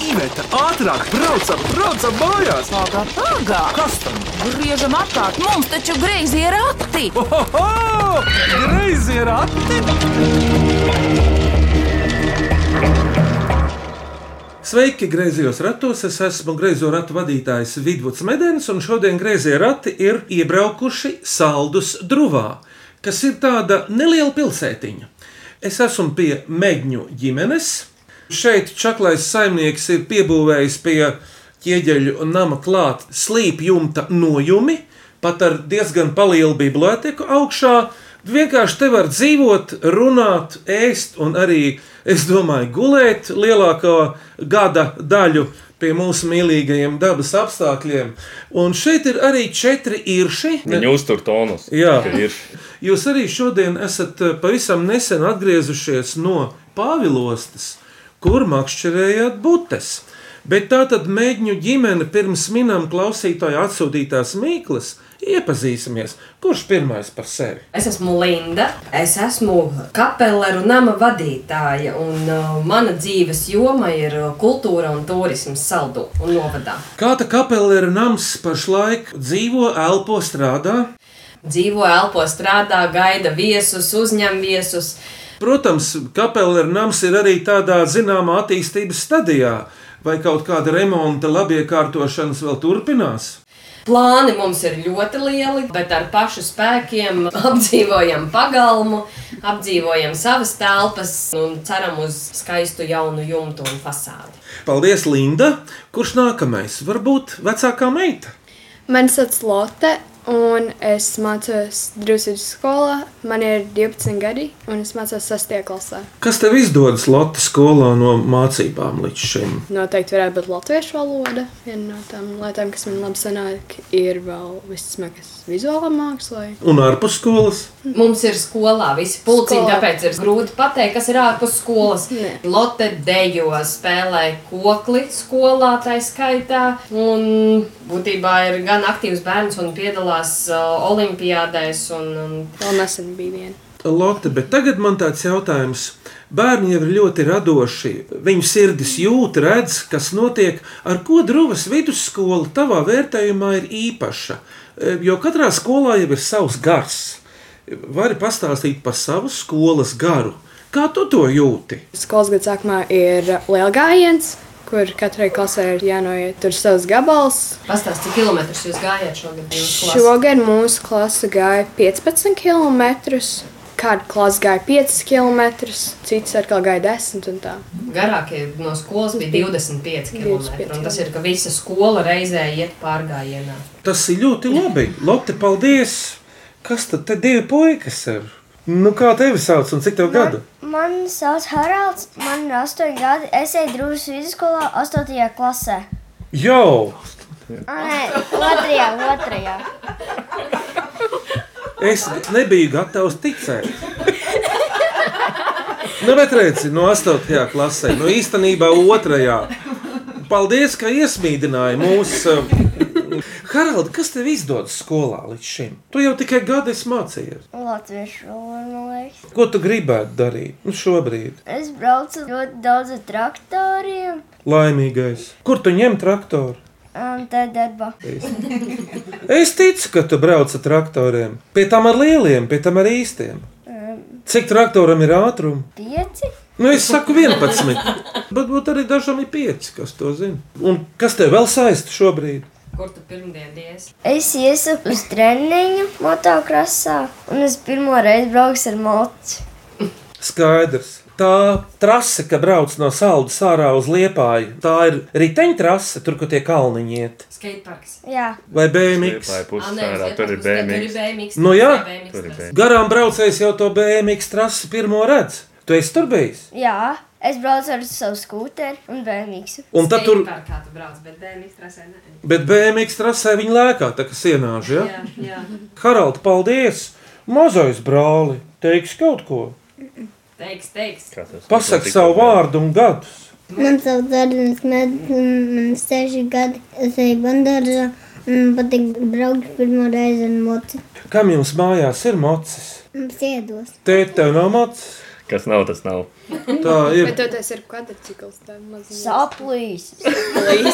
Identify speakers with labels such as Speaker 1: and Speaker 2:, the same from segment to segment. Speaker 1: Iveta, ātrāk, braucam, braucam mājās!
Speaker 2: Pagā, pagā!
Speaker 1: Kas tam?
Speaker 2: Griežam apkārt, mums taču greizi ir akti!
Speaker 1: Ohoho! Greizi ir ati!
Speaker 3: Sveiki, griezījos ratos! Es esmu griezo ratu vadītājs Vidvuds Medens, un šodien griezie rati ir iebraukuši Saldus Druvā, kas ir tāda neliela pilsētiņa. Es esmu pie Meģņu ģimenes. Šeit čaklais saimnieks ir piebūvējis pie ķieģeļu nama klāt slīpjumta nojumi, pat ar diezgan lielu biblioteku augšā. Vienkārši te var dzīvot, runāt, ēst un arī, es domāju, gulēt lielāko gada daļu pie mūsu mīlīgajiem dabas apstākļiem. Un šeit ir arī četri irši. Ne-
Speaker 4: Viņi uztur tonus.
Speaker 3: Jā.
Speaker 4: ka ir.
Speaker 3: Jūs arī šodien esat eh, pavisam nesen atgriezušies no Pāvilostas, kur makšķerējāt butes. Bet tā tad mēģinu ģimene pirms minām klausītāju atsūtītās mīklas iepazīsimies. Kurš pirmais par sevi?
Speaker 5: Es esmu Linda. Es esmu kapelāra un nama vadītāja. Un, uh, mana dzīves joma ir uh, kultūra un turisms saldu un novadā.
Speaker 3: Kāda kapela ir nams pašlaik dzīvo, elpo, strādā?
Speaker 5: Dzīvo, elpo, strādā, gaida viesus, uzņem viesus.
Speaker 3: Protams, kapela ir nams ir arī tādā zināmā attīstības stadijā, vai kaut kāda remonta, labiekārtošanas vēl turpinās.
Speaker 5: Plāni mums ir ļoti lieli, bet ar pašu spēkiem apdzīvojam pagalmu, apdzīvojam savas telpas un ceram uz skaistu jaunu jumtu un fasādi.
Speaker 3: Paldies, Linda! Kurš nākamais? Varbūt vecākā meita.
Speaker 6: Mani sauc Lotte, un es mācos Drusku skolā. Man ir 12 gadi, un es mācos 6. klasē.
Speaker 3: Kas tev izdodas Latvijas skolā no mācībām līdz šim?
Speaker 6: Noteikti varētu būt latviešu valoda. Viena no tām lietām, kas man labi sanāk, ir vēl vismaz vizuālā māksla.
Speaker 3: Un ārpus skolas?
Speaker 5: Mums ir skolā visi pulciņi,
Speaker 6: Skolā.
Speaker 5: tāpēc ir grūti pateikt, kas ir ārpus skolas.
Speaker 6: Nē.
Speaker 5: Lotte dejo, spēlē kokli skolā, tā skaitā. Un būtībā ir gan aktīvs bērns un piedalās uh, olimpiādēs. Un, un
Speaker 6: Vēl nesen bija viena.
Speaker 3: Lotte, bet tagad man tāds jautājums. Bērni jau ir ļoti radoši. Viņu sirdis jūt, redz, kas notiek. Ar ko Druvas vidusskola tavā vērtējumā ir īpaša? E, Jo katrā skolā jau ir savs gars. Vari pastāstīt par savu skolas garu. Kā tu to jūti?
Speaker 6: Skolas gada sākumā ir liela gājiens, kur katrai klasē ir jānoiet tur savs gabals.
Speaker 5: pastāsti, cik kilometrus jūs gājāt šogad? jūsu klasē?
Speaker 6: Šogad mūsu klase gāja 15 km. Kāda klase gāja 5 km, cits atkal gāja 10 un tā.
Speaker 5: Garākie no skolas bija 25 km.
Speaker 6: 25
Speaker 5: Un tas ir, ka visa skola reizē iet pārgājienā.
Speaker 3: Tas ir ļoti labi. Lotte, paldies! Kas tad te divi puikas ir? Nu, kā tevi sauc un cik
Speaker 7: Nu?
Speaker 3: tev gadu?
Speaker 7: Mani sauc Haralds, man ir 8 gadi. Es eju drusku vidusskolā, 8. klasē.
Speaker 3: Jau!
Speaker 7: Ā, Nē, 2. 2.
Speaker 3: Es nebiju gatavs ticēt. Nu, bet redziet, no 8. klasē, no īstenībā 2. Paldies, ka iesmīdināji mūs. eh, Haraldi, kas tev izdodas skolā līdz šim? Tu jau tikai gadu esi mācījies.
Speaker 7: Latviešu valoda.
Speaker 3: Ko tu gribētu darīt nu, šobrīd?
Speaker 7: Es braucu ļoti daudz ar traktoriem.
Speaker 3: Laimīgais. Kur tu ņem traktoru?
Speaker 7: Un te darba.
Speaker 3: Es ticu, ka tu brauc ar traktoriem. Pie tam ar lieliem, pie tam ar īstiem. Cik traktoram ir ātrums?
Speaker 7: Pieci.
Speaker 3: Nu, es saku 11, bet būtu arī dažam ir 5, kas to zina. Un kas tev vēl saista šobrīd?
Speaker 5: Kur tu pirmdien dies?
Speaker 7: Es iesaku uz treniņu motokrasā. Un es pirmo reizi braucu ar mocu.
Speaker 3: Skaidrs. Tā trase, ka brauc no saldas ārā uz liepāju, tā ir riteņtrase, tur, kur tie kalniņi iet.
Speaker 5: Skateparks.
Speaker 7: Jā,
Speaker 3: Vai BMW?
Speaker 4: Vai
Speaker 5: Ah, nē,
Speaker 4: pusstārā,
Speaker 5: uz
Speaker 4: tur ir
Speaker 5: Liepājas pusē,
Speaker 4: bēmīgi.
Speaker 3: Nu jā.
Speaker 5: Tur ir bēmīgi.
Speaker 3: Garām braucējs jau to BMW trasi pirmo redz. Tu esi tur bijis.
Speaker 7: jā. Es braucu ar savu skūteri un bērnu.
Speaker 3: Un tad tur,
Speaker 5: Skateparkā tu brauc, bet bēmīgi trasē nē.
Speaker 3: bet BMW trasē viņa lēkā, tā kā sienāža. Ja?
Speaker 5: Jā, jā.
Speaker 3: Haralds, paldies! Mazais brāli, teiks kaut ko.
Speaker 5: Teiks, teiks.
Speaker 4: Kā tas-
Speaker 3: Pasak
Speaker 4: Tik-
Speaker 3: savu vārdu un gadus.
Speaker 8: Man sauc Dārns Mēdens, man ir 6 gadi. Es eju bandāžā un man patīk braukt pirmo reizi ar moci.
Speaker 3: Kam jums mājās ir mocis?
Speaker 8: Mums iedos.
Speaker 3: Tēta, tev nav mocis.
Speaker 4: Kas nav, tas nav.
Speaker 3: Tā ir.
Speaker 6: Bet tev tas ir kvadrcikls, tā mazliet.
Speaker 7: Saplīs.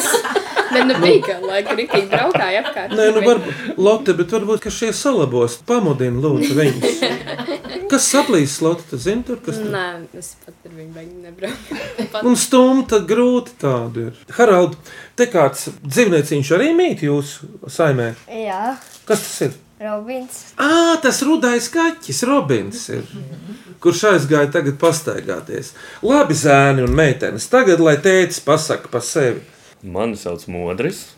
Speaker 6: Bet nu bija, ka laika rītīgi braukāja apkārt.
Speaker 3: Nē, nu varbūt Lotte, bet varbūt ka šie salabos pamudina lūdzu viņus. Kas saplīs Lotte, tu zini tur, kas tur?
Speaker 6: Nē, es pat ar viņu baigi nebraucu. Nu, Pat
Speaker 3: Un stumta grūti tāda ir. Harald, te kāds dzīvnieciņš arī mīt jūsu saimē.
Speaker 7: Jā,
Speaker 3: Kas tas ir?
Speaker 7: Robins.
Speaker 3: Ā, tas rudais kaķis, Robins ir. Kurš aizgāja tagad pastaigāties? Labi, zēni un meitenes, tagad lai tēvs pasaka par sevi.
Speaker 4: Mani sauc Modris.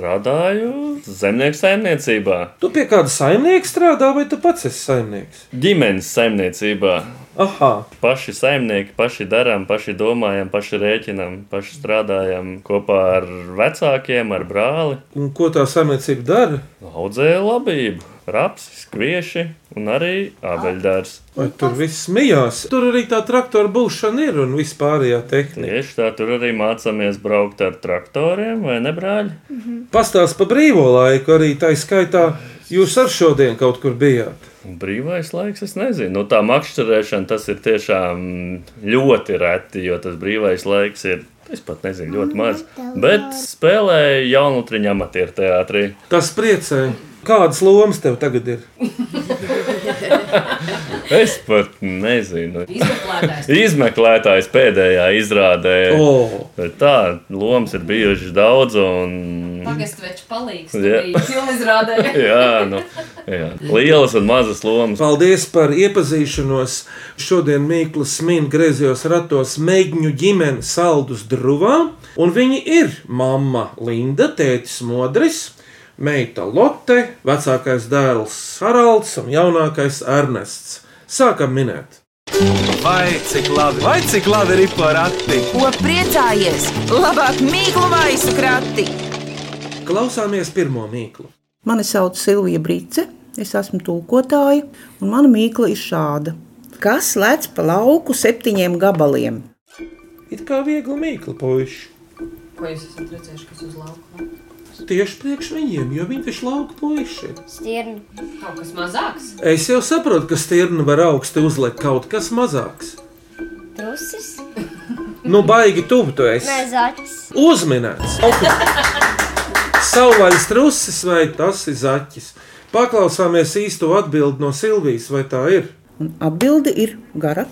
Speaker 4: Strādāju zemnieku saimniecībā,
Speaker 3: Tu pie kāda saimnieka strādā, vai tu pats esi saimnieks?
Speaker 4: ģimenes saimniecībā.
Speaker 3: Aha,
Speaker 4: Paši saimnieki, paši darām, paši domājam, paši rēķinam, paši strādājam kopā ar vecākiem, ar brāli.
Speaker 3: un ko tā saimniecība dara?
Speaker 4: Audzēja labību, rapsi, kvieši un arī abeļdārs.
Speaker 3: Vai tur viss mijās? Tur arī tā traktora būšana ir un vispārējā tehnika.
Speaker 4: Tieši tā, tur arī mācāmies braukt ar traktoriem, vai ne, brāļi?
Speaker 3: Pastāst par brīvo laiku, arī tā skaitā jūs ar šodien kaut kur bijāt.
Speaker 4: Un brīvais laiks, es nezinu, nu, tā makšķerēšana tas ir tiešām ļoti reti, jo tas brīvais laiks ir. Es pat nezinu, ļoti maz. Bet spēlēju jaunutriņu amatieru teātrī.
Speaker 3: Tas priecē. Kādas lomas tev tagad ir?
Speaker 4: Es pat nezinu.
Speaker 5: Izmeklētājs.
Speaker 4: Izmeklētājs pēdējā izrādē.
Speaker 3: O,
Speaker 4: Bet Tā lomas ir bijušas daudz, un
Speaker 5: Pagastavečs palīgs.
Speaker 4: Jā.
Speaker 5: Yeah. Filmizrādē.
Speaker 4: jā, nu, jā. lielas un mazas lomas.
Speaker 3: paldies par iepazīšanos. Šodien Mīklas min griezījos ratos Meigņu ģimene Saldus Druvā. Un viņi ir mamma Linda, tētis Modris, meita Lotte, vecākais dēls Haralds un jaunākais Ernests. Sākam minēt!
Speaker 1: Vai cik labi, vai cik labi ir porakti?
Speaker 2: Ko priecājies? Labāk mīklu maisu krati!
Speaker 3: Klausāmies pirmo mīklu.
Speaker 9: Mani sauc Silvija Brīce, es esmu tūkotāja, un mana mīkla ir šāda. Kas lec pa lauku septiņiem gabaliem?
Speaker 3: It kā viegli mīklu puiši.
Speaker 5: Ko jūs esat redzējuši, kas uz lauka?
Speaker 3: Tieši priekš viņiem, jo viņi taču lauka puiši. ir.
Speaker 7: Stirni.
Speaker 5: Kaut kas mazāks.
Speaker 3: Es jau saprotu, ka stirnu var augstu uzlikt kaut kas mazāks.
Speaker 7: Trusis.
Speaker 3: Nu, baigi tuvu tu esi.
Speaker 7: Nē, zaķis.
Speaker 3: Uzminēts! Savvaļas trusis vai tas ir zaķis? Paklausāmies īsto atbildi no Silvijas, vai tā ir?
Speaker 9: Un atbilde ir gara.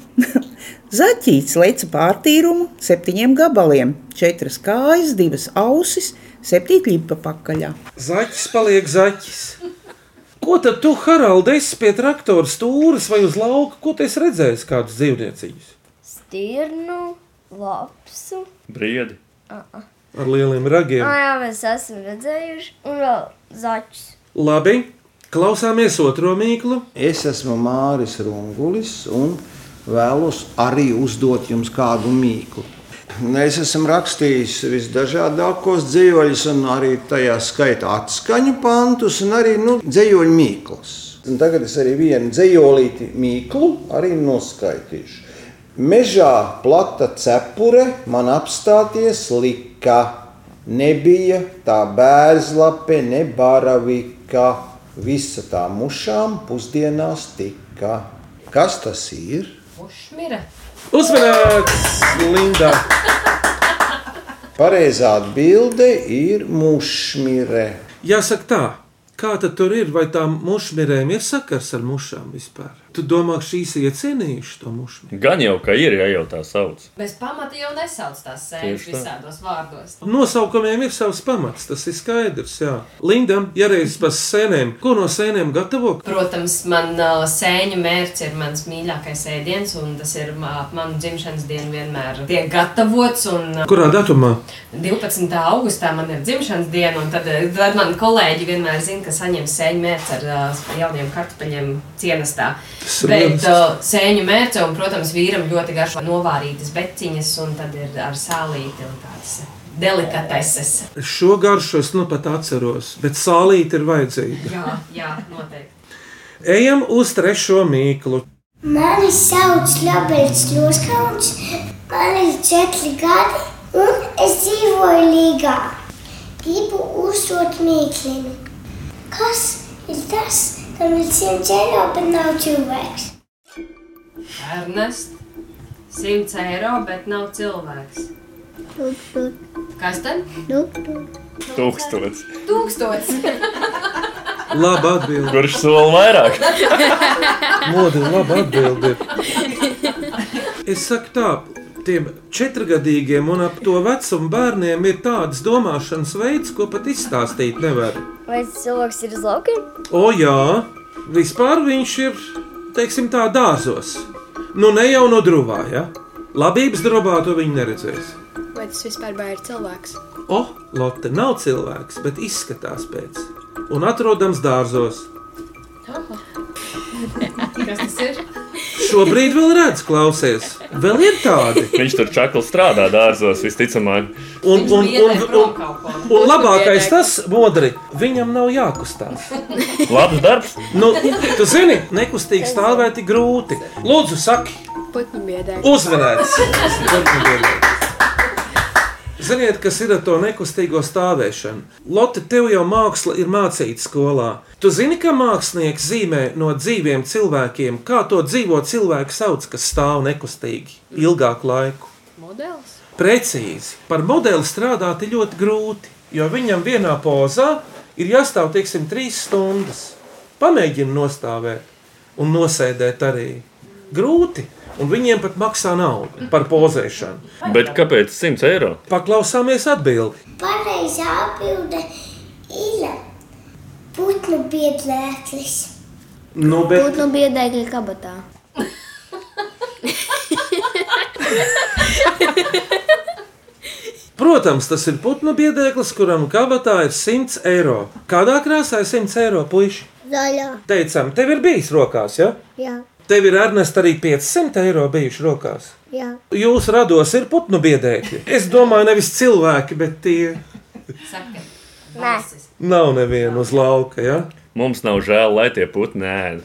Speaker 9: Zaķīts leca pārtīrumu septiņiem gabaliem, četras kājas, divas ausis, septiņi klipa pakaļā.
Speaker 3: Zaķis paliek zaķis. Ko tad tu, Haralds, esi pie traktora stūres vai uz lauka? Ko tu esi redzējis kādus dzīvniecības?
Speaker 7: Stirnu. Lapsu.
Speaker 4: Briedi.
Speaker 3: Ar lieliem ragiem.
Speaker 7: Ah, jā, mēs esam redzējuši. Un vēl zaķis.
Speaker 3: Labi, klausāmies otro mīklu.
Speaker 10: Es esmu Māris Rungulis un vēlos arī uzdot jums kādu mīklu. Mēs esam rakstījuši visdažādākos dzīsļus, un arī tajā skaitā atskaņu pantus, un arī nu, dzīsļu mīklas. Un tagad es arī vienu dzīslīti mīklu arī noskaitīšu. Mežā plata cepure man apstāties lika. Nebija tā bērnslape, ne baravika. Visa tā mušām pusdienās tika. Kas tas ir?
Speaker 5: Ušmira.
Speaker 3: Uzmanīgs, Linda!
Speaker 10: Pareizā atbilde ir mušmire.
Speaker 3: Jāsaka tā, kā tad tur ir, vai tām mušmirēm ir sakars ar mušām vispār? Tu domā, ka šīs ir iecienījušas to mušmiri?
Speaker 4: Gan jau, ka ir, ja jau tā sauc.
Speaker 5: Bez pamata jau nesauc tās sēnes
Speaker 4: Tieši tā.
Speaker 5: visādos vārdos.
Speaker 3: Nosaukumiem ir savs pamats, tas ir skaidrs. Jā. Lindam, ja reizes par sēnēm, ko no sēnēm gatavo?
Speaker 5: Protams, man uh, sēņu mērķis ir mans mīļākais ēdiens, un tas ir uh, manu dzimšanas diena vienmēr tiek gatavots. Un, uh,
Speaker 3: Kurā datumā?
Speaker 5: 12. augustā man ir dzimšanas diena, un tad, uh, tad man kolēģi vienmēr zina, ka saņem sēņu mērķi ar uh, jauniem kartupeļiem cienestā.
Speaker 3: Tas ir
Speaker 5: Bet
Speaker 3: viens.
Speaker 5: uh, sēņu mērķi, un, protams, vīram ļoti garšo novārītas beciņas, un tad ir ar sālīti un tādas delikateses.
Speaker 3: Šo garšu es nu pat atceros, bet sālīt ir vajadzīga.
Speaker 5: Jā, jā, noteikti.
Speaker 3: Ejam uz trešo mīklu.
Speaker 8: Mani sauc Labels Ļoskauns, man ir četri gadi un es dzīvoju Līgā. Gribu uzdot mīklinu. Kas ir tas, kam ir simts eiro, bet nav cilvēks?
Speaker 5: Ernests, 100 eiro, bet nav cilvēks. Kas tad?
Speaker 4: Tūkstots.
Speaker 5: Tūkstots.
Speaker 3: Labi atbild.
Speaker 4: Kurš sola vairāk?
Speaker 3: Modi, labi atbild. Es saku tā. Tiem četrgadīgiem un ap to vecumu bērniem ir tāds domāšanas veids, ko pat izstāstīt nevar.
Speaker 7: Vai cilvēks ir uz laukiem?
Speaker 3: O, jā, vispār viņš ir, teiksim, tā dārzos. Nu, ne jau no drūmā, ja? Labības drobā to viņi neredzēs.
Speaker 6: Vai tas vispār vai ir cilvēks?
Speaker 3: O, Oh, Lotte nav cilvēks, bet izskatās pēc. Un atrodams dārzos.
Speaker 5: Kas tas ir?
Speaker 3: Šobrīd vēl redz, klausies. Vēl ir tādi.
Speaker 4: Viņš tur čakli strādā dārzos, visticamāk.
Speaker 3: Un, un, un, un,
Speaker 5: un.
Speaker 3: un labākais tas, modri, viņam nav jākustās.
Speaker 4: Labs darbs.
Speaker 3: Nu, tu zini, nekustīgi stāvēt ir grūti. Lūdzu, saki,
Speaker 6: Putnu biedē.
Speaker 3: Uzvarēts! Ziniet, kas ir ar to nekustīgo stāvēšanu? Lotte, tev jau māksla ir mācīta skolā. Tu zini, ka mākslinieks zīmē no dzīviem cilvēkiem, kā to dzīvo cilvēku sauc, kas stāv nekustīgi ilgāku laiku.
Speaker 6: Modelis.
Speaker 3: Precīzi par modeli strādāt ir ļoti grūti, jo viņam vienā pozā ir jāstāv teiksim, trīs stundas. Pamēģini nostāvēt un nosēdēt arī. Grūti, un viņiem pat maksā naudu par pozēšanu.
Speaker 4: Bet kāpēc 100 eiro?
Speaker 3: Paklausāmies atbildi.
Speaker 8: Pareizā atbilde ir putnu biedlēklis.
Speaker 3: Nu, bet
Speaker 7: Putnu biedēkļa kabatā.
Speaker 3: Protams, tas ir putnu biedēklis, kuram kabatā ir 100 eiro. Kādā krāsā ir 100 eiro puiši?
Speaker 8: Zaļā.
Speaker 3: Teicām, tev ir bijis rokās, ja?
Speaker 8: Jā,
Speaker 3: Tev ir Ernest arī 500 eiro bijuši rokās.
Speaker 8: jā.
Speaker 3: Jūs rados ir putnu biedēkļi. Es domāju, nevis cilvēki, bet tie
Speaker 5: Saka.
Speaker 7: Nē.
Speaker 5: Valsis.
Speaker 3: nav neviena uz lauka. Ja?
Speaker 4: Mums nav žēl, lai tie putni ēd.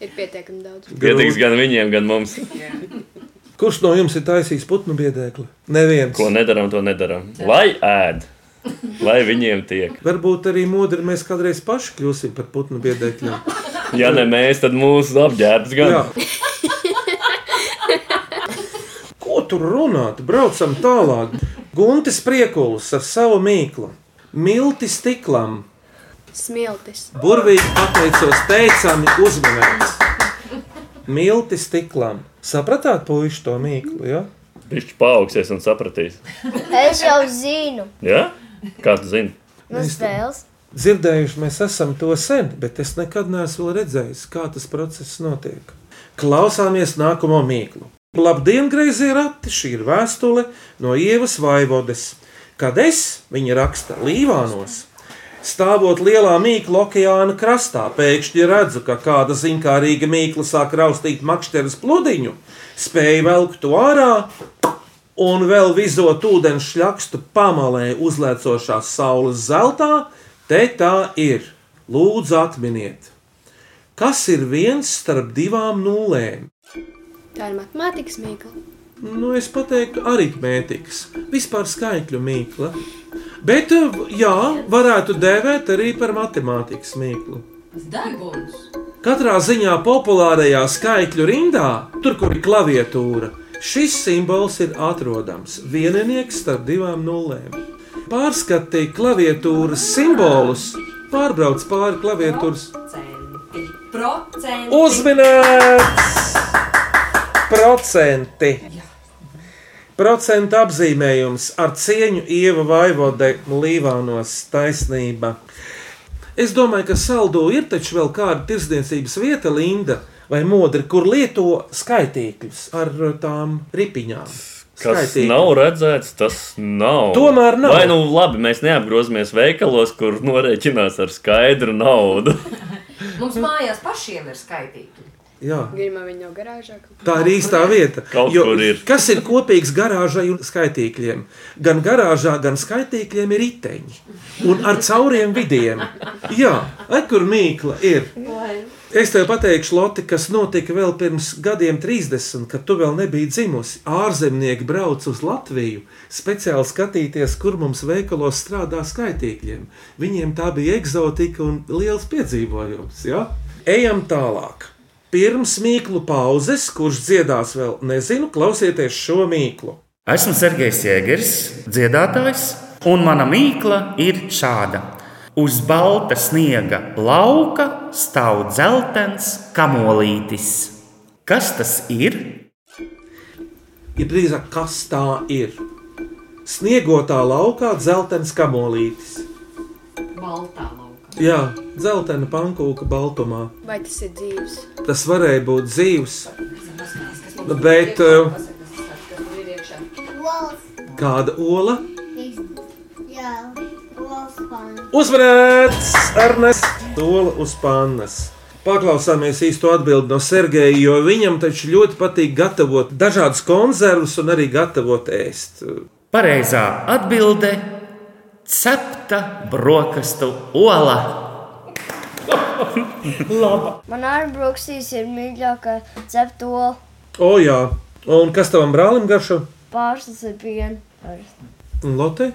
Speaker 6: Ir pietiekami daudz.
Speaker 4: Pietiks gan viņiem, gan mums.
Speaker 3: Kurš no jums ir taisījis putnu biedēkli? Neviens.
Speaker 4: Ko nedaram, to nedaram. Lai ēd, lai viņiem tiek.
Speaker 3: Varbūt arī modri mēs kādreiz paši kļūsim par putnu biedēkļiem.
Speaker 4: Ja ne mēs, tad mūsu apģērbs gan.
Speaker 3: Jā. Ko tur runāt? Braucam tālāk. Guntis priekulis ar savu mīklu. Milti stiklam.
Speaker 6: Smiltis.
Speaker 3: Burvīgi pateicos, teicami uzmanīgs. Milti stiklam. Sapratāt, puiši, to mīklu, jā? Ja?
Speaker 4: Viņš paaugsies un sapratīs.
Speaker 7: Es jau zinu.
Speaker 4: Jā? Kā tu zini?
Speaker 7: No spēles.
Speaker 3: Dzirdējuši mēs esam to sen, bet es nekad neesmu vēl redzējis, kā tas process notiek. Klausāmies nākamo mīklu. Labdien, grazīgi rati! Šī ir vēstule no Ievas Vaivodes. Kad es viņa raksta Līvānos, stāvot lielā mīklu okeāna krastā, pēkšņi redzu, ka kāda zinkārīga mīkla sāk raustīt makšķeres pludiņu, spēja velkt to ārā un vēl vizot ūdeni šļakstu pamalē uzlēcošās saules zeltā, te tā ir. Lūdzu, atminiet, kas ir viens starp divām nulēm?
Speaker 6: Tā ir matemātikas mīkla.
Speaker 3: Nu, es teiktu, aritmētikas, vispār skaitļu mīkla. Bet, eh, jā, varētu dēvēt arī par matemātikas mīklu.
Speaker 5: Deguns.
Speaker 3: Katrā ziņā populārajā skaitļu rindā, tur, kur ir klaviatūra, šis simbols ir atrodams vieninieks starp divām nulēm. Pārskati klaviatūras simbolus, pārbrauc pāri klaviatūras.
Speaker 5: Procenti. Procenti.
Speaker 3: Uzminēts! Procenti! Procentu apzīmējums ar cieņu ieva vaivode Līvānos taisnība. Es domāju, ka saldo ir taču vēl kāda tirdzniecības vieta, Linda, vai modri, kur lieto skaitīkļus ar uh, tām ripiņām.
Speaker 4: Kas
Speaker 3: Skaitīkļi.
Speaker 4: nav redzēts, tas nav.
Speaker 3: Tomēr nav.
Speaker 4: Vai nu labi, mēs neapgrozamies veikalos, kur norēķinās ar skaidru naudu.
Speaker 5: Mums mājās pašiem ir skaitīti.
Speaker 3: Jā.
Speaker 6: Gribam viņu no garāžā. kaut
Speaker 3: Tā ir īstā vieta.
Speaker 4: Kaut
Speaker 3: jo,
Speaker 4: kur ir.
Speaker 3: Kas ir kopīgs garāžai un skaitīkļiem? Gan garāžā, gan skaitīkļiem ir riteņi. Un ar cauriem vidiem. Jā, ai, kur mīkla ir. Es tev pateikšu, Lotte, kas notika vēl pirms gadiem, 30, kad tu vēl nebiji dzimusi. Ārzemnieki brauc uz Latviju speciāli skatīties, kur mums veikalos strādā skaitīkļiem. Viņiem tā bija eksotika un liels piedzīvojums. Ja? Ejam tālāk. Pirms mīklu pauzes, kurš dziedās vēl nezinu, klausieties šo mīklu.
Speaker 11: Esmu Sergejs Jēgers, dziedātājs, un mana mīkla ir šāda. Uz balta sniega lauka stāv dzeltens kamolītis. Kas tas ir?
Speaker 3: Ja drīzāk, kas tā ir? Sniegotā laukā dzeltens kamolītis.
Speaker 5: Baltā laukā.
Speaker 3: Jā, dzeltena pankūka baltumā.
Speaker 6: Vai tas ir dzīves?
Speaker 3: Tas varēja būt dzīves. Bet eh, kāda ola?
Speaker 8: Jā, Wolfgang.
Speaker 3: Uzvarēts Ernests Tola uz pannas. Paklausāmies īsto atbildi no Sergeja, jo viņam taču ļoti patīk gatavot dažādas konservas un arī gatavot ēst.
Speaker 11: Pareizā atbilde - cepta brokastu ola.
Speaker 7: Man ārbrauksīs ir mīļākā ceptola.
Speaker 3: O, jā, un kas tavam brālim garšo?
Speaker 7: Pārslas ar pienu.
Speaker 3: Un Lotte?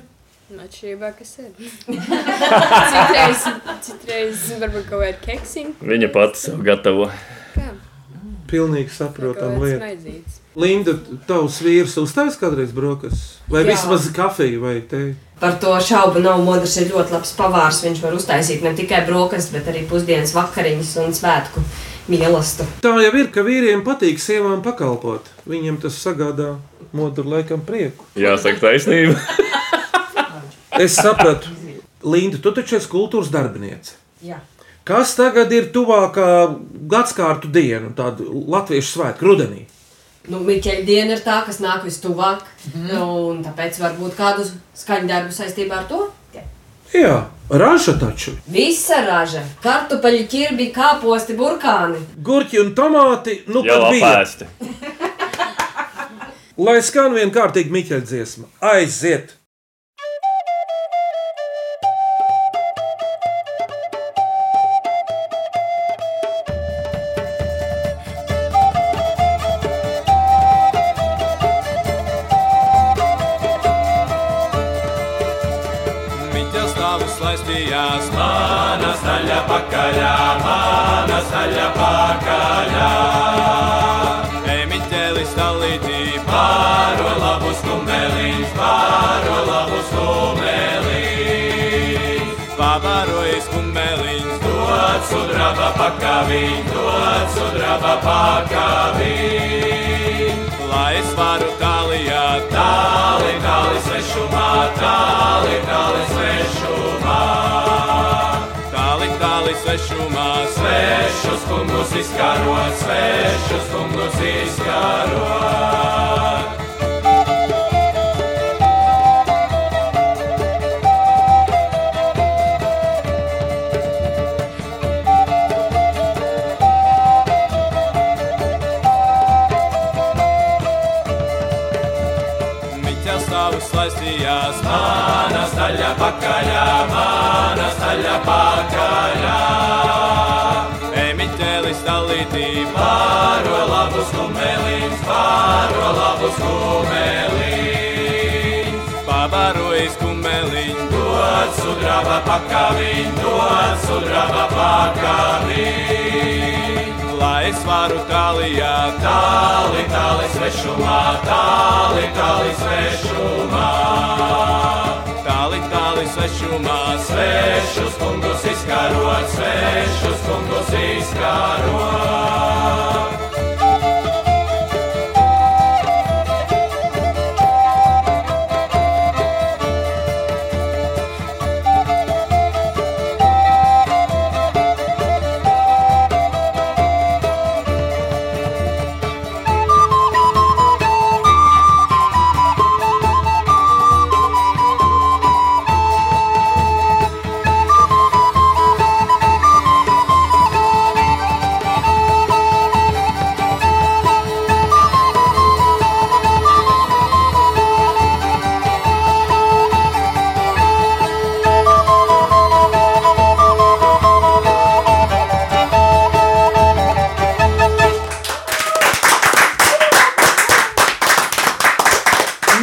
Speaker 6: Nu,
Speaker 12: Atšķirībā, kas ir. citreiz, citreiz varbūt kaut kāda keksiņa.
Speaker 4: Viņa pati sev gatavo.
Speaker 3: Pilnīgi saprotama
Speaker 12: Kaut kāds
Speaker 3: lieta.
Speaker 12: maizītis.
Speaker 3: Linda, tavs vīrs uztais kādreiz brokastu vai
Speaker 5: Jā.
Speaker 3: vismaz kafiju vai teju?
Speaker 5: Par to šaubu nav. Modrs ir ļoti labs pavārs. Viņš var uztaisīt ne tikai brokastis, bet arī pusdienas vakariņas un svētku mielastu.
Speaker 3: Tā jau ir, ka vīriem patīk sievām pakalpot. Viņiem tas sagādā modru laikam prieku.
Speaker 4: Jāsaka, taisnība.
Speaker 3: Es sapratu, Linda, tu taču esi kultūras darbiniece.
Speaker 5: Jā.
Speaker 3: Kas tagad ir tuvākā gadsimta diena, tāda latviešu svētku rudenī?
Speaker 5: Nu, Miķeļdiena ir tā, kas nāk vistuvāk. Mm. Un tāpēc varbūt kādu skaņu darbu saistībā ar to.
Speaker 3: Jā, raža taču.
Speaker 5: Visa raža, kartupeļu ķirbi, kāposti, burkāni.
Speaker 3: Gurķi un tomāti, nu,
Speaker 4: Jau
Speaker 3: kad bija.
Speaker 4: apēsti.
Speaker 3: Lai skan vienkāršīgi miķeļdziesma, aiziet!
Speaker 13: Miķels stāvus laistījās, mana staļa pakaļā, mana staļa pakaļā. Ej, Miķelis stalītī, pāro labu skumelīns, pāro labu skumelīns. Pavaroja skumelīns, dod sudraba pakavīn, dod sudraba pakavīn. Lai es varu tālijā, tāli, tāli svešumā, tāli, tāli svešumā. Tāli, tāli svešumā, svešus kungus izkaro, svešus kungus izkaro. Miķa stāvus laistījās, mana staļa pakaļā, mana staļa pakaļā. Ej, Miķelis stalītī, pāro labus kumelīns, pāro labus kumelīns. Pavarojas kumelīns, dod sudraba pakavīn, dod sudraba pakavīn. Lai es varu tālijā, tāli, tāli svešumā, tāli, tāli svešumā. Tāli, tāli svešumā, svešus kungus izkarot, svešus kungus izkarot.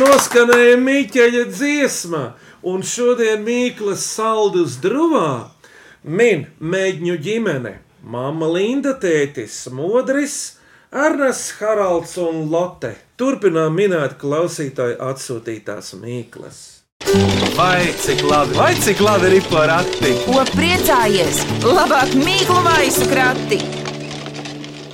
Speaker 3: Noskanēja Miķeļa dziesma, un šodien Mīklas saldus drūmā min mēģņu ģimene. Māma Linda, tētis Modris, Arnests, Haralds un Lotte. Turpinām minēt klausītāju atsūtītās mīklas.
Speaker 1: Vai cik labi, vai cik labi ir porakti?
Speaker 2: Ko priecājies? Labāk mīklu maisu krati!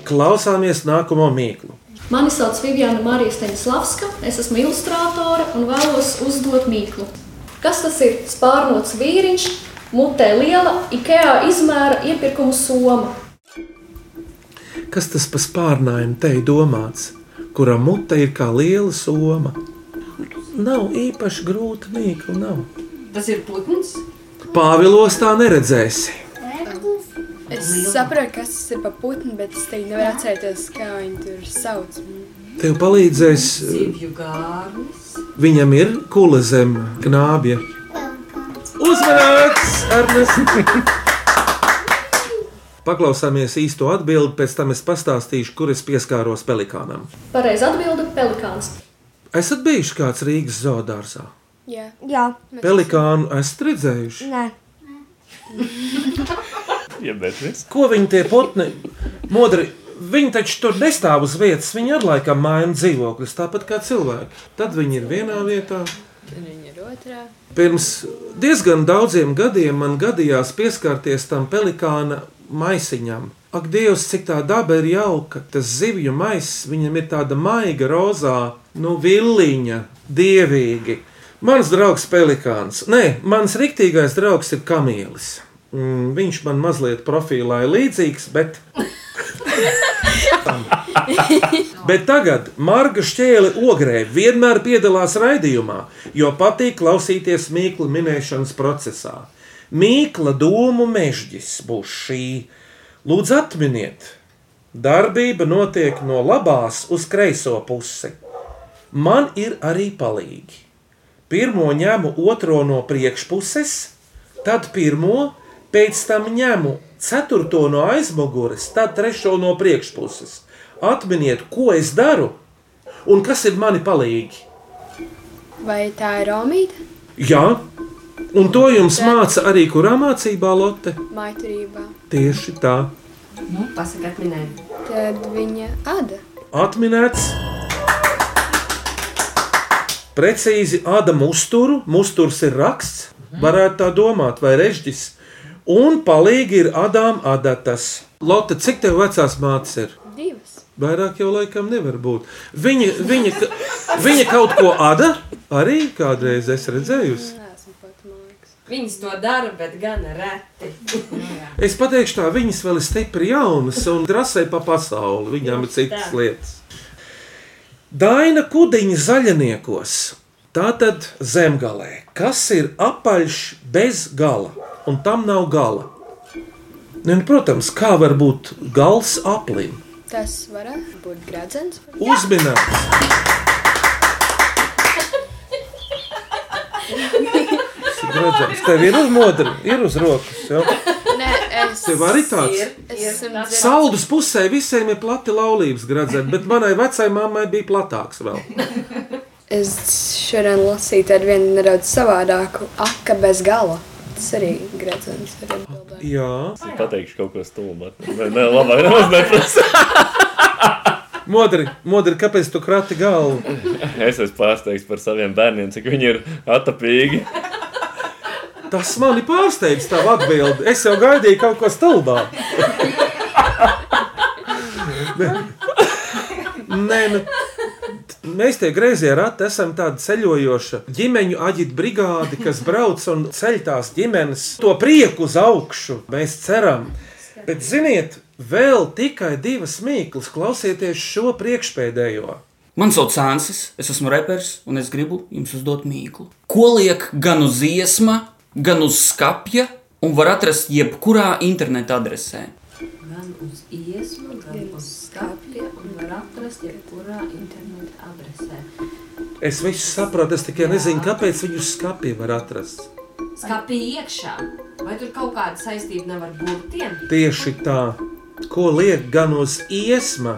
Speaker 3: Klausāmies nākamo mīklu.
Speaker 14: Mani sauc Viviana Marija Steņslavska, es esmu ilustrātore un vēlos uzdot mīklu. Kas tas ir? Spārnots vīriņš, mutē liela IKEA izmēra iepirkuma soma.
Speaker 3: Kas tas par spārnājumu te ir domāts, kura mute ir kā liela soma? Nav īpaši grūta mīkla, nav.
Speaker 5: Tas ir putns.
Speaker 3: Pāvilos tā neredzēsi.
Speaker 6: Es saprotu, kas tas ir pa putnu, bet es teiktu, nevaru atcerēties, kā viņi tur sauc.
Speaker 3: Tev palīdzēs,
Speaker 5: Zivju gārnis.
Speaker 3: viņam ir kula zem knābja. Uzmanīgs, Ernest! Paklausāmies īsto atbildi, pēc tam es pastāstīšu, kur es pieskāros pelikānam.
Speaker 14: Pareizi atbildi - pelikāns.
Speaker 3: Esat bijuši kāds Rīgas zoodārzā?
Speaker 6: Jā.
Speaker 7: Jā.
Speaker 3: Pelikānu esat redzējuši?
Speaker 7: Nē.
Speaker 4: Ja bērnis.
Speaker 3: Ko viņi tie putni modri? Viņi taču tur nestāv uz vietas. Viņi ar laikam maina dzīvokļus, tāpat kā cilvēki. Tad viņi ir vienā vietā.
Speaker 12: Viņa ir otrā.
Speaker 3: Pirms diezgan daudziem gadiem man gadījās pieskarties tam pelikāna maisiņam. Ak, Dievs, cik tā daba ir jauka! Tas zivju maisis, viņam ir tāda maiga, rozā, nu, vilniņa, dievīgi. Mans draugs pelikāns, nē, mans riktīgais draugs ir kamielis. Mm, viņš man mazliet profilā ir līdzīgs, bet Bet tagad Marga Šķēle ogrē vienmēr piedalās raidījumā, jo patīk klausīties mīklu minēšanas procesā. Mīkla domu mežģis būs šī. Lūdzu, atminiet, darbība notiek no labās uz kreiso pusi. Man ir arī palīgi. Pirmo ņemu otro no priekšpuses, tad pirmo, pēc tam ņemu ceturto no aizmugures, tad trešo no priekšpuses atminiet, ko es daru un kas ir mani palīgi.
Speaker 6: Vai tā ir Romīta?
Speaker 3: Jā, un to jums māca arī kurā mācībā Lotte.
Speaker 6: Maiturībā.
Speaker 3: Tieši tā,
Speaker 5: Nu, pasakiet, minēt.
Speaker 6: Tad viņa ada.
Speaker 3: atminēts. Precīzi Ādama uzturu, musturs ir raksts, varētu tā domāt, vai režģis. Un palīgi ir Adām adatas. Lotte, cik tev vecās mātes ir?
Speaker 6: Divas.
Speaker 3: Vairāk jau laikam nevar būt. Viņa, viņa, ka- viņa kaut ko ada arī kādreiz es redzējusi.
Speaker 5: Viņas to dara, bet gan reti.
Speaker 3: Es pateikšu, tā viņas vēl ir stipri jaunas un drasē pa pasauli. Viņām ir citas
Speaker 5: tā.
Speaker 3: lietas. Daina kudiņa zaļniekos. Tā tad zemgalē, kas ir apaļš bez gala, un tam nav gala. Nu, un, protams, kā var būt gals aplim?
Speaker 6: Tas varētu būt gradzens.
Speaker 3: Uzminēt! Redzams, tev ir uz modra, ir uz rokas. Jau.
Speaker 6: Nē, es.
Speaker 3: Tev arī tāds? Ir,
Speaker 6: Es esmu
Speaker 3: Saldus pusē visiem ir plati laulības gradzeni, bet manai vecajai mammai bija platāks vēl.
Speaker 6: Es šodien lasīju tādu vienu nedaudz savādāku, aka bez gala. Tas arī gredzens.
Speaker 3: Jā.
Speaker 4: Es pateikšu kaut ko stulbu. bet- Nē, nē, labāk nemaz neprasa.
Speaker 3: Modri, modri, kāpēc tu krati galvu?
Speaker 4: Es esmu pārsteigts par saviem bērniem, cik viņi ir atapīgi.
Speaker 3: Tas mani pārsteidz tā atbilde. Es jau gaidīju kaut ko stulbā. Nē. Nē, nu, t- mēs tie griezie rati esam tāda ceļojoša ģimeņu aģita brigāde, kas brauc un ceļ tās ģimenes to prieku uz augšu. Mēs ceram. Bet ziniet, vēl tikai divas mīklas klausieties šo priekšpēdējo.
Speaker 15: Mani sauc Ansis, es esmu reperis un es gribu jums uzdot mīklu. Ko liek gan uz iesma, gan uz skapja un var atrast jebkurā interneta adresē?
Speaker 5: Gan uz iesmu, gan uz skapja un var atrast jebkurā interneta adresē.
Speaker 3: Es visu saprotu, es tikai nezinu, kāpēc viņus skapī var atrast.
Speaker 5: Skapī iekšā. Vai tur kaut kāda saistība nav ar burtiem?
Speaker 3: Tieši tā, ko liek gan uz iesma,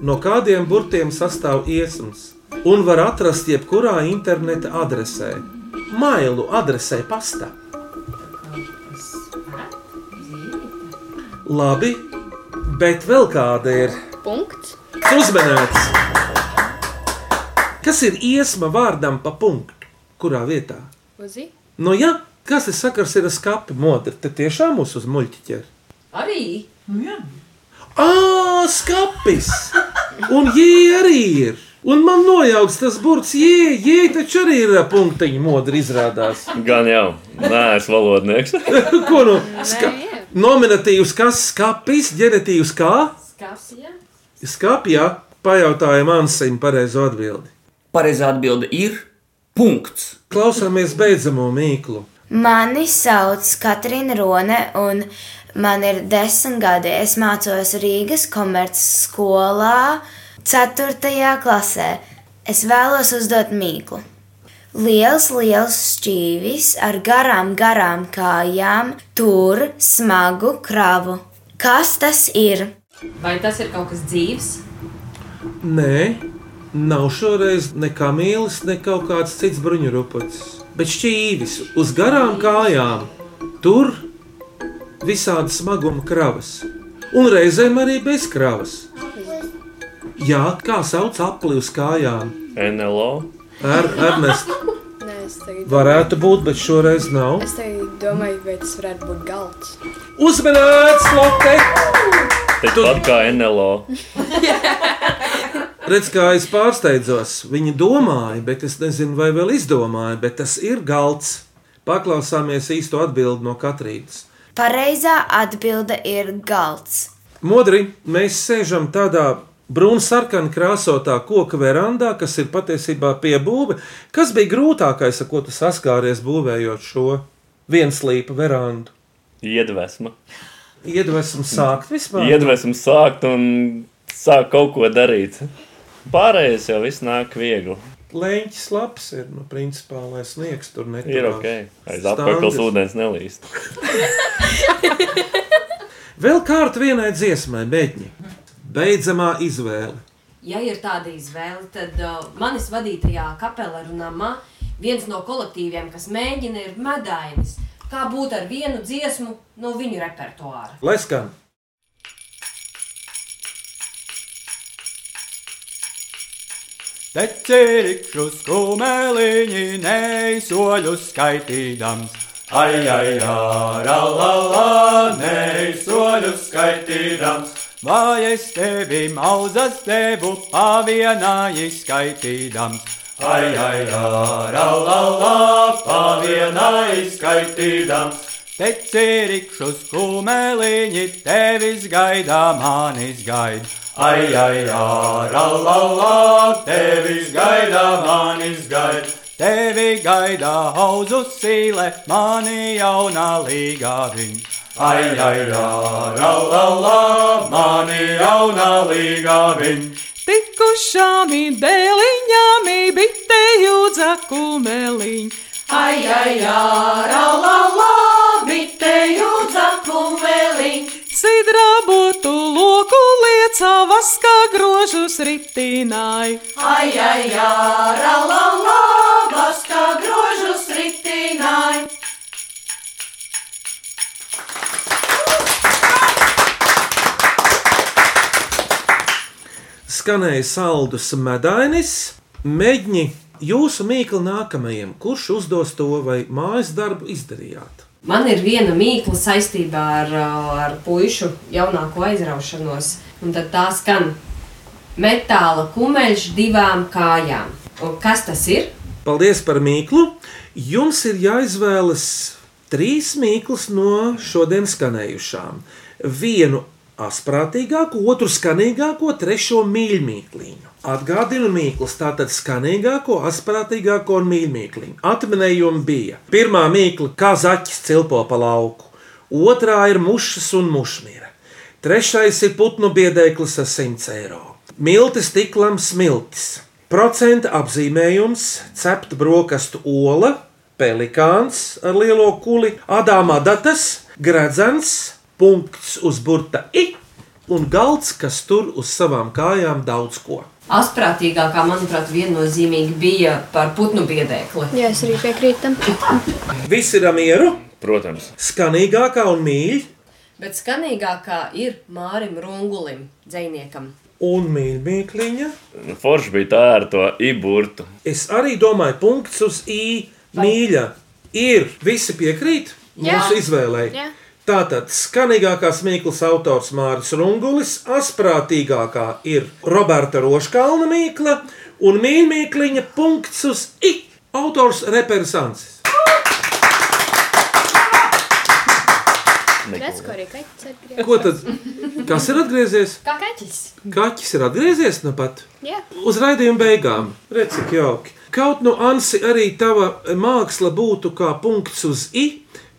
Speaker 3: no kādiem burtiem sastāv iesmas, un var atrast jebkurā interneta adresē, mailu adresē, pasta. Labi, bet vēl kāda ir.
Speaker 6: Punkts.
Speaker 3: Uzmanīts! Kas ir iesma vārdam pa punktu? Kurā vietā?
Speaker 6: Uzi.
Speaker 3: Nu, jā, kas ir sakars ar skāpi modri? Tad tiešām mūs uz muļķi ķer.
Speaker 5: Arī. Nu, jā.
Speaker 3: Ah, skāpis! Un jē arī ir! Un man nojauks tas burts, jē, jē, taču arī ir punktiņa modri izrādās.
Speaker 4: Gan jau, nē, es valodnieks.
Speaker 3: Ko nu? Ska... Nominatīvs kas? Skāpis, ģenetīvs kā?
Speaker 5: Skapsija.
Speaker 3: Skāpjā pajautāja Mansim pareizo atbildi.
Speaker 15: Pareizā atbilde ir punkts.
Speaker 3: Klausāmies beidzamo mīklu.
Speaker 16: Mani sauc Katrīna Rone, un man ir desmit gadi. Es mācos Rīgas komerces skolā, 4. klasē. Es vēlos uzdot mīklu. Liels, liels šķīvis ar garām, garām kājām, tur smagu kravu. Kas tas ir?
Speaker 5: Vai tas ir kaut kas dzīves?
Speaker 3: Nē, nav šoreiz ne kamīlis, ne kaut kāds cits bruņurupucis, bet šķīvis uz garām kājām. Tur visādi smaguma kravas, un reizēm arī bez kravas. Jā, kā sauc apli uz kājām?
Speaker 4: NLO.
Speaker 3: Ar Ernestu
Speaker 6: Nē, es tagad.
Speaker 3: varētu būt, bet šoreiz nav.
Speaker 6: Es tagad domāju, vai tas varētu būt galds.
Speaker 3: Uzmanīts, Lotte!
Speaker 4: Tāpat kā NLO.
Speaker 3: Redz, kā es pārsteidzos. Viņi domāja, bet es nezinu, vai vēl izdomāja, bet tas ir galds. Paklausāmies īsto atbildi no Katrīnas.
Speaker 16: Pareizā atbilde ir galds.
Speaker 3: Modri, mēs sēžam tādā brūnsarkanā krāsotā koka verandā, kas ir patiesībā piebūve. Kas bija grūtākais, ar ko tu saskāries būvējot šo vienslīpu verandu?
Speaker 4: Iedvesma.
Speaker 3: Iedvesmu sākt vispār.
Speaker 4: Iedvesmu sākt un sākt kaut ko darīt. Pārējais jau viss nāk viegli.
Speaker 3: Lēņķis labs ir, nu, principā, lai sniegs tur netur.
Speaker 4: Ir ok. Aiz apakšas ūdens nelīst.
Speaker 3: Vēl kārt vienai dziesmai, bēgņi. Beidzamā izvēle.
Speaker 5: Ja ir tāda izvēle, tad uh, manis vadītajā kapelā runāmā viens no kolektīviem, kas mēģina, ir medājums. Kā būt ar vienu dziesmu no viņu repertuāra?
Speaker 3: Lai skan!
Speaker 13: Te ķirikšu skumeliņi neisoļus skaitīdams. Ai, ai, ārā, la, la, neisoļus skaitīdams. Vai es tevi mauzas tevu pavienā izskaitīdams? Ai, ai, ārā, la, la, pavienā izskaitīdams. Te ķirikšu skumeliņi tevis gaidā manis gaida. Ai, ai, ārā, la, la, tevis gaidā, manis gaida. Tevi gaidā hauzu sīle, mani jaunā līgā viņa. Ai, ai, ārā, la, la, mani jaunā līgā viņa.
Speaker 17: Tikušām dēliņām bitē jūdza kumeliņ.
Speaker 18: Ai, ai, ārā, la, la, bitē jūdza kumeliņ.
Speaker 17: Sidrā būtu loku liecā vaskā grožus ritinai.
Speaker 18: Ai, ai, ārā, la, la, vaskā grožus ritinai.
Speaker 3: Skanēja saldus medainis, mēģini jūsu mīklu nākamajam, kurš uzdos to vai mājas darbu izdarījāt.
Speaker 5: Man ir viena mīkla saistībā ar, uh, ar pušu jaunāko aizraušanos. Un tad tā skan metāla kumeļš divām kājām. Un kas tas ir?
Speaker 3: Paldies par mīklu! Jums ir jāizvēlas trīs mīklas no šodien skanējušām. Vienu asprātīgāku, otru skanīgāko, trešo mīļmīkliņu. Atgādinu mīklas, tātad skanīgāko, asprātīgāko un mīļmīkliņu. Atminējumi bija. Pirmā mīkla - kā zaķis cilpo pa lauku, otrā ir mušas un mušmīra, trešais ir putnu biedēklis ar 100 eiro. Miltis tiklam smiltis, procenta apzīmējums, cepta brokastu ola, pelikāns ar lielo kuli, adāmā datas, gredzens, punkts uz burta i un galds, kas tur uz savām kājām daudz ko.
Speaker 5: Asprātīgākā, manuprāt, viennozīmīgi bija par putnu biedēkli.
Speaker 6: Jā, es arī piekrītu tam.
Speaker 3: Visi ir ar mieru,
Speaker 4: Protams.
Speaker 3: skanīgākā un mīļākā.
Speaker 5: Bet skanīgākā ir Mārim Rungulim, dziniekam.
Speaker 3: Un mīkliņa.
Speaker 4: Forši bija tā ar to iburtu.
Speaker 3: Es arī domāju, punkts uz i mīļa. Ir visi piekrīt
Speaker 2: Jā.
Speaker 3: mūsu izvēlei.
Speaker 2: Jā.
Speaker 3: Tātad skanīgākās mīklas autors Mārcis Rungulis, asprātīgākā ir Roberta Roškalna mīkla un mīkliņa punkts uz i autors Reperis Ansis.
Speaker 6: Redz, ko arī kaķis atgriežas.
Speaker 3: Ko tad? Kas ir atgriezies?
Speaker 12: Kā kaķis?
Speaker 3: Kaķis ir atgriezies nu pat.
Speaker 12: Jā.
Speaker 3: Uz raidījuma beigām. Redz, cik jauki. Kaut no Ansi arī tava māksla būtu kā punkts uz i.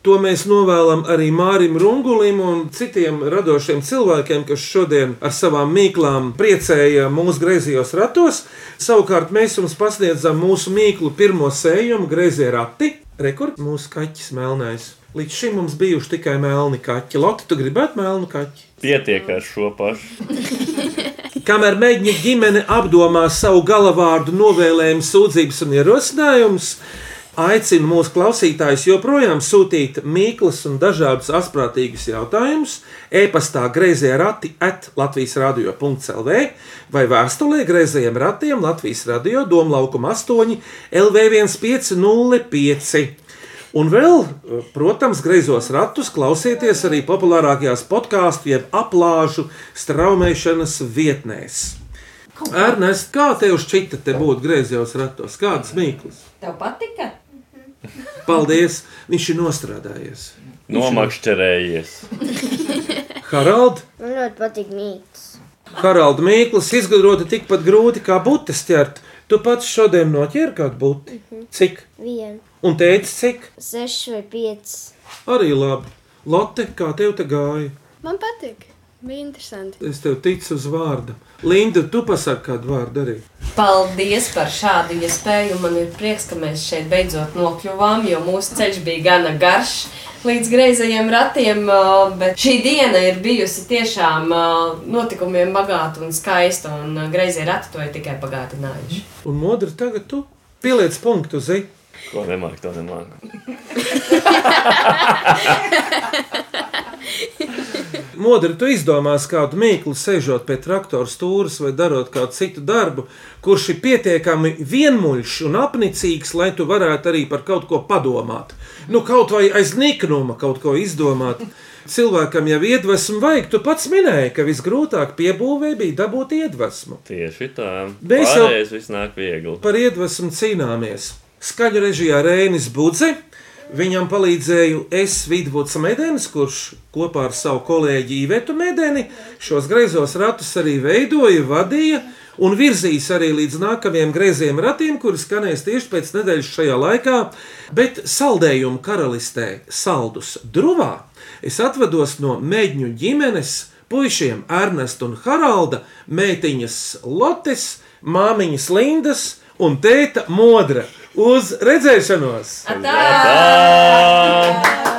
Speaker 3: To mēs novēlam arī Mārim Rungulim un citiem radošiem cilvēkiem, kas šodien ar savām mīklām priecēja mūsu griezījos ratos. Savukārt mēs jums pasniedzam mūsu mīklu pirmo sējumu, griezie rati. Rekord mūsu kaķis melnais. Līdz šim mums bijuši tikai melni kaķi. Lotte, tu gribētu melnu kaķi?
Speaker 4: Pietiek ar šo pašu.
Speaker 3: Kamēr mēģina ģimene apdomā savu galavārdu, novēlējumu, sūdzības un ierosinājumus, aicinu mūsu klausītājus joprojām sūtīt mīklas un dažādus asprātīgus jautājumus e-pastā grazējā rati at Latvijas radio. CELV vai vēstulē grazējiem ratiem Latvijas radio Domlaukuma 8 LV1505. Un vēl, protams, greizos ratus klausieties arī populārākajās podkāstu, jeb aplāžu straumēšanas vietnēs. Ernest, kā tev šķita, te būtu griezos ratos? Kādas mīklas?
Speaker 5: Tev patika?
Speaker 3: Paldies! Viņš ir nostrādājies.
Speaker 4: Nomakšķerējies.
Speaker 3: Haralds,
Speaker 7: Man ļoti patīk mīts.
Speaker 3: Haralds Mīkls izgudrota tikpat grūti kā buļbuļs ķert. Tu pats šodien noķēri kādu buļbuļs. Cik?
Speaker 7: Vienu,
Speaker 3: Un teici, cik?
Speaker 7: sešu vai piecus.
Speaker 3: Arī labi. Lotte, kā tev te gāja?
Speaker 6: Man patīk. Bija interesanti.
Speaker 3: Es tev ticu uz vārdu. Linda, tu pasaki kādu vārdu arī.
Speaker 5: Paldies par šādu iespēju. Man ir prieks, ka mēs šeit beidzot nokļuvām, jo mūsu ceļš bija gana garš līdz greizajiem ratiem. ā, Bet šī diena ir bijusi tiešām ā, notikumiem bagāta un skaista, un ā, greizie rati to ir tikai pagātinājuši.
Speaker 3: Un modri tagad tu pieliec punktu, zi.
Speaker 4: Ko nemāk, to nemāk.
Speaker 3: Modri, tu izdomās kādu mīklu, sēžot pie traktora stūres vai darot kādu citu darbu, kurš ir pietiekami vienmuļš un apnicīgs, lai tu varētu arī par kaut ko padomāt. Nu, kaut vai aiz niknuma kaut ko izdomāt. Cilvēkam jau iedvesmu vajag, tu pats minēji, ka visgrūtāk piebūvē bija dabūt iedvesmu.
Speaker 4: Tieši tā.
Speaker 3: Mēs jau-
Speaker 4: Pārējais viss nāk viegli.
Speaker 3: par iedvesmu cīnāmies. Skaļu režijā Rēnis Budze. Viņam palīdzēju es, Vidvuds Medens, kurš kopā ar savu kolēģi Ivetu Medeni šos greizos ratus arī veidoja, vadīja un virzīs arī līdz nākamajiem greiziem ratiem, kuri skanēs tieši pēc nedēļas šajā laikā. Bet saldējumu karalistē Saldus Druvā es atvados no mēģņu ģimenes puišiem Ernesta un Haralda, meitiņas Lotes, māmiņas Lindas un tēta Modra. Uz redzēšanos!
Speaker 5: Tā!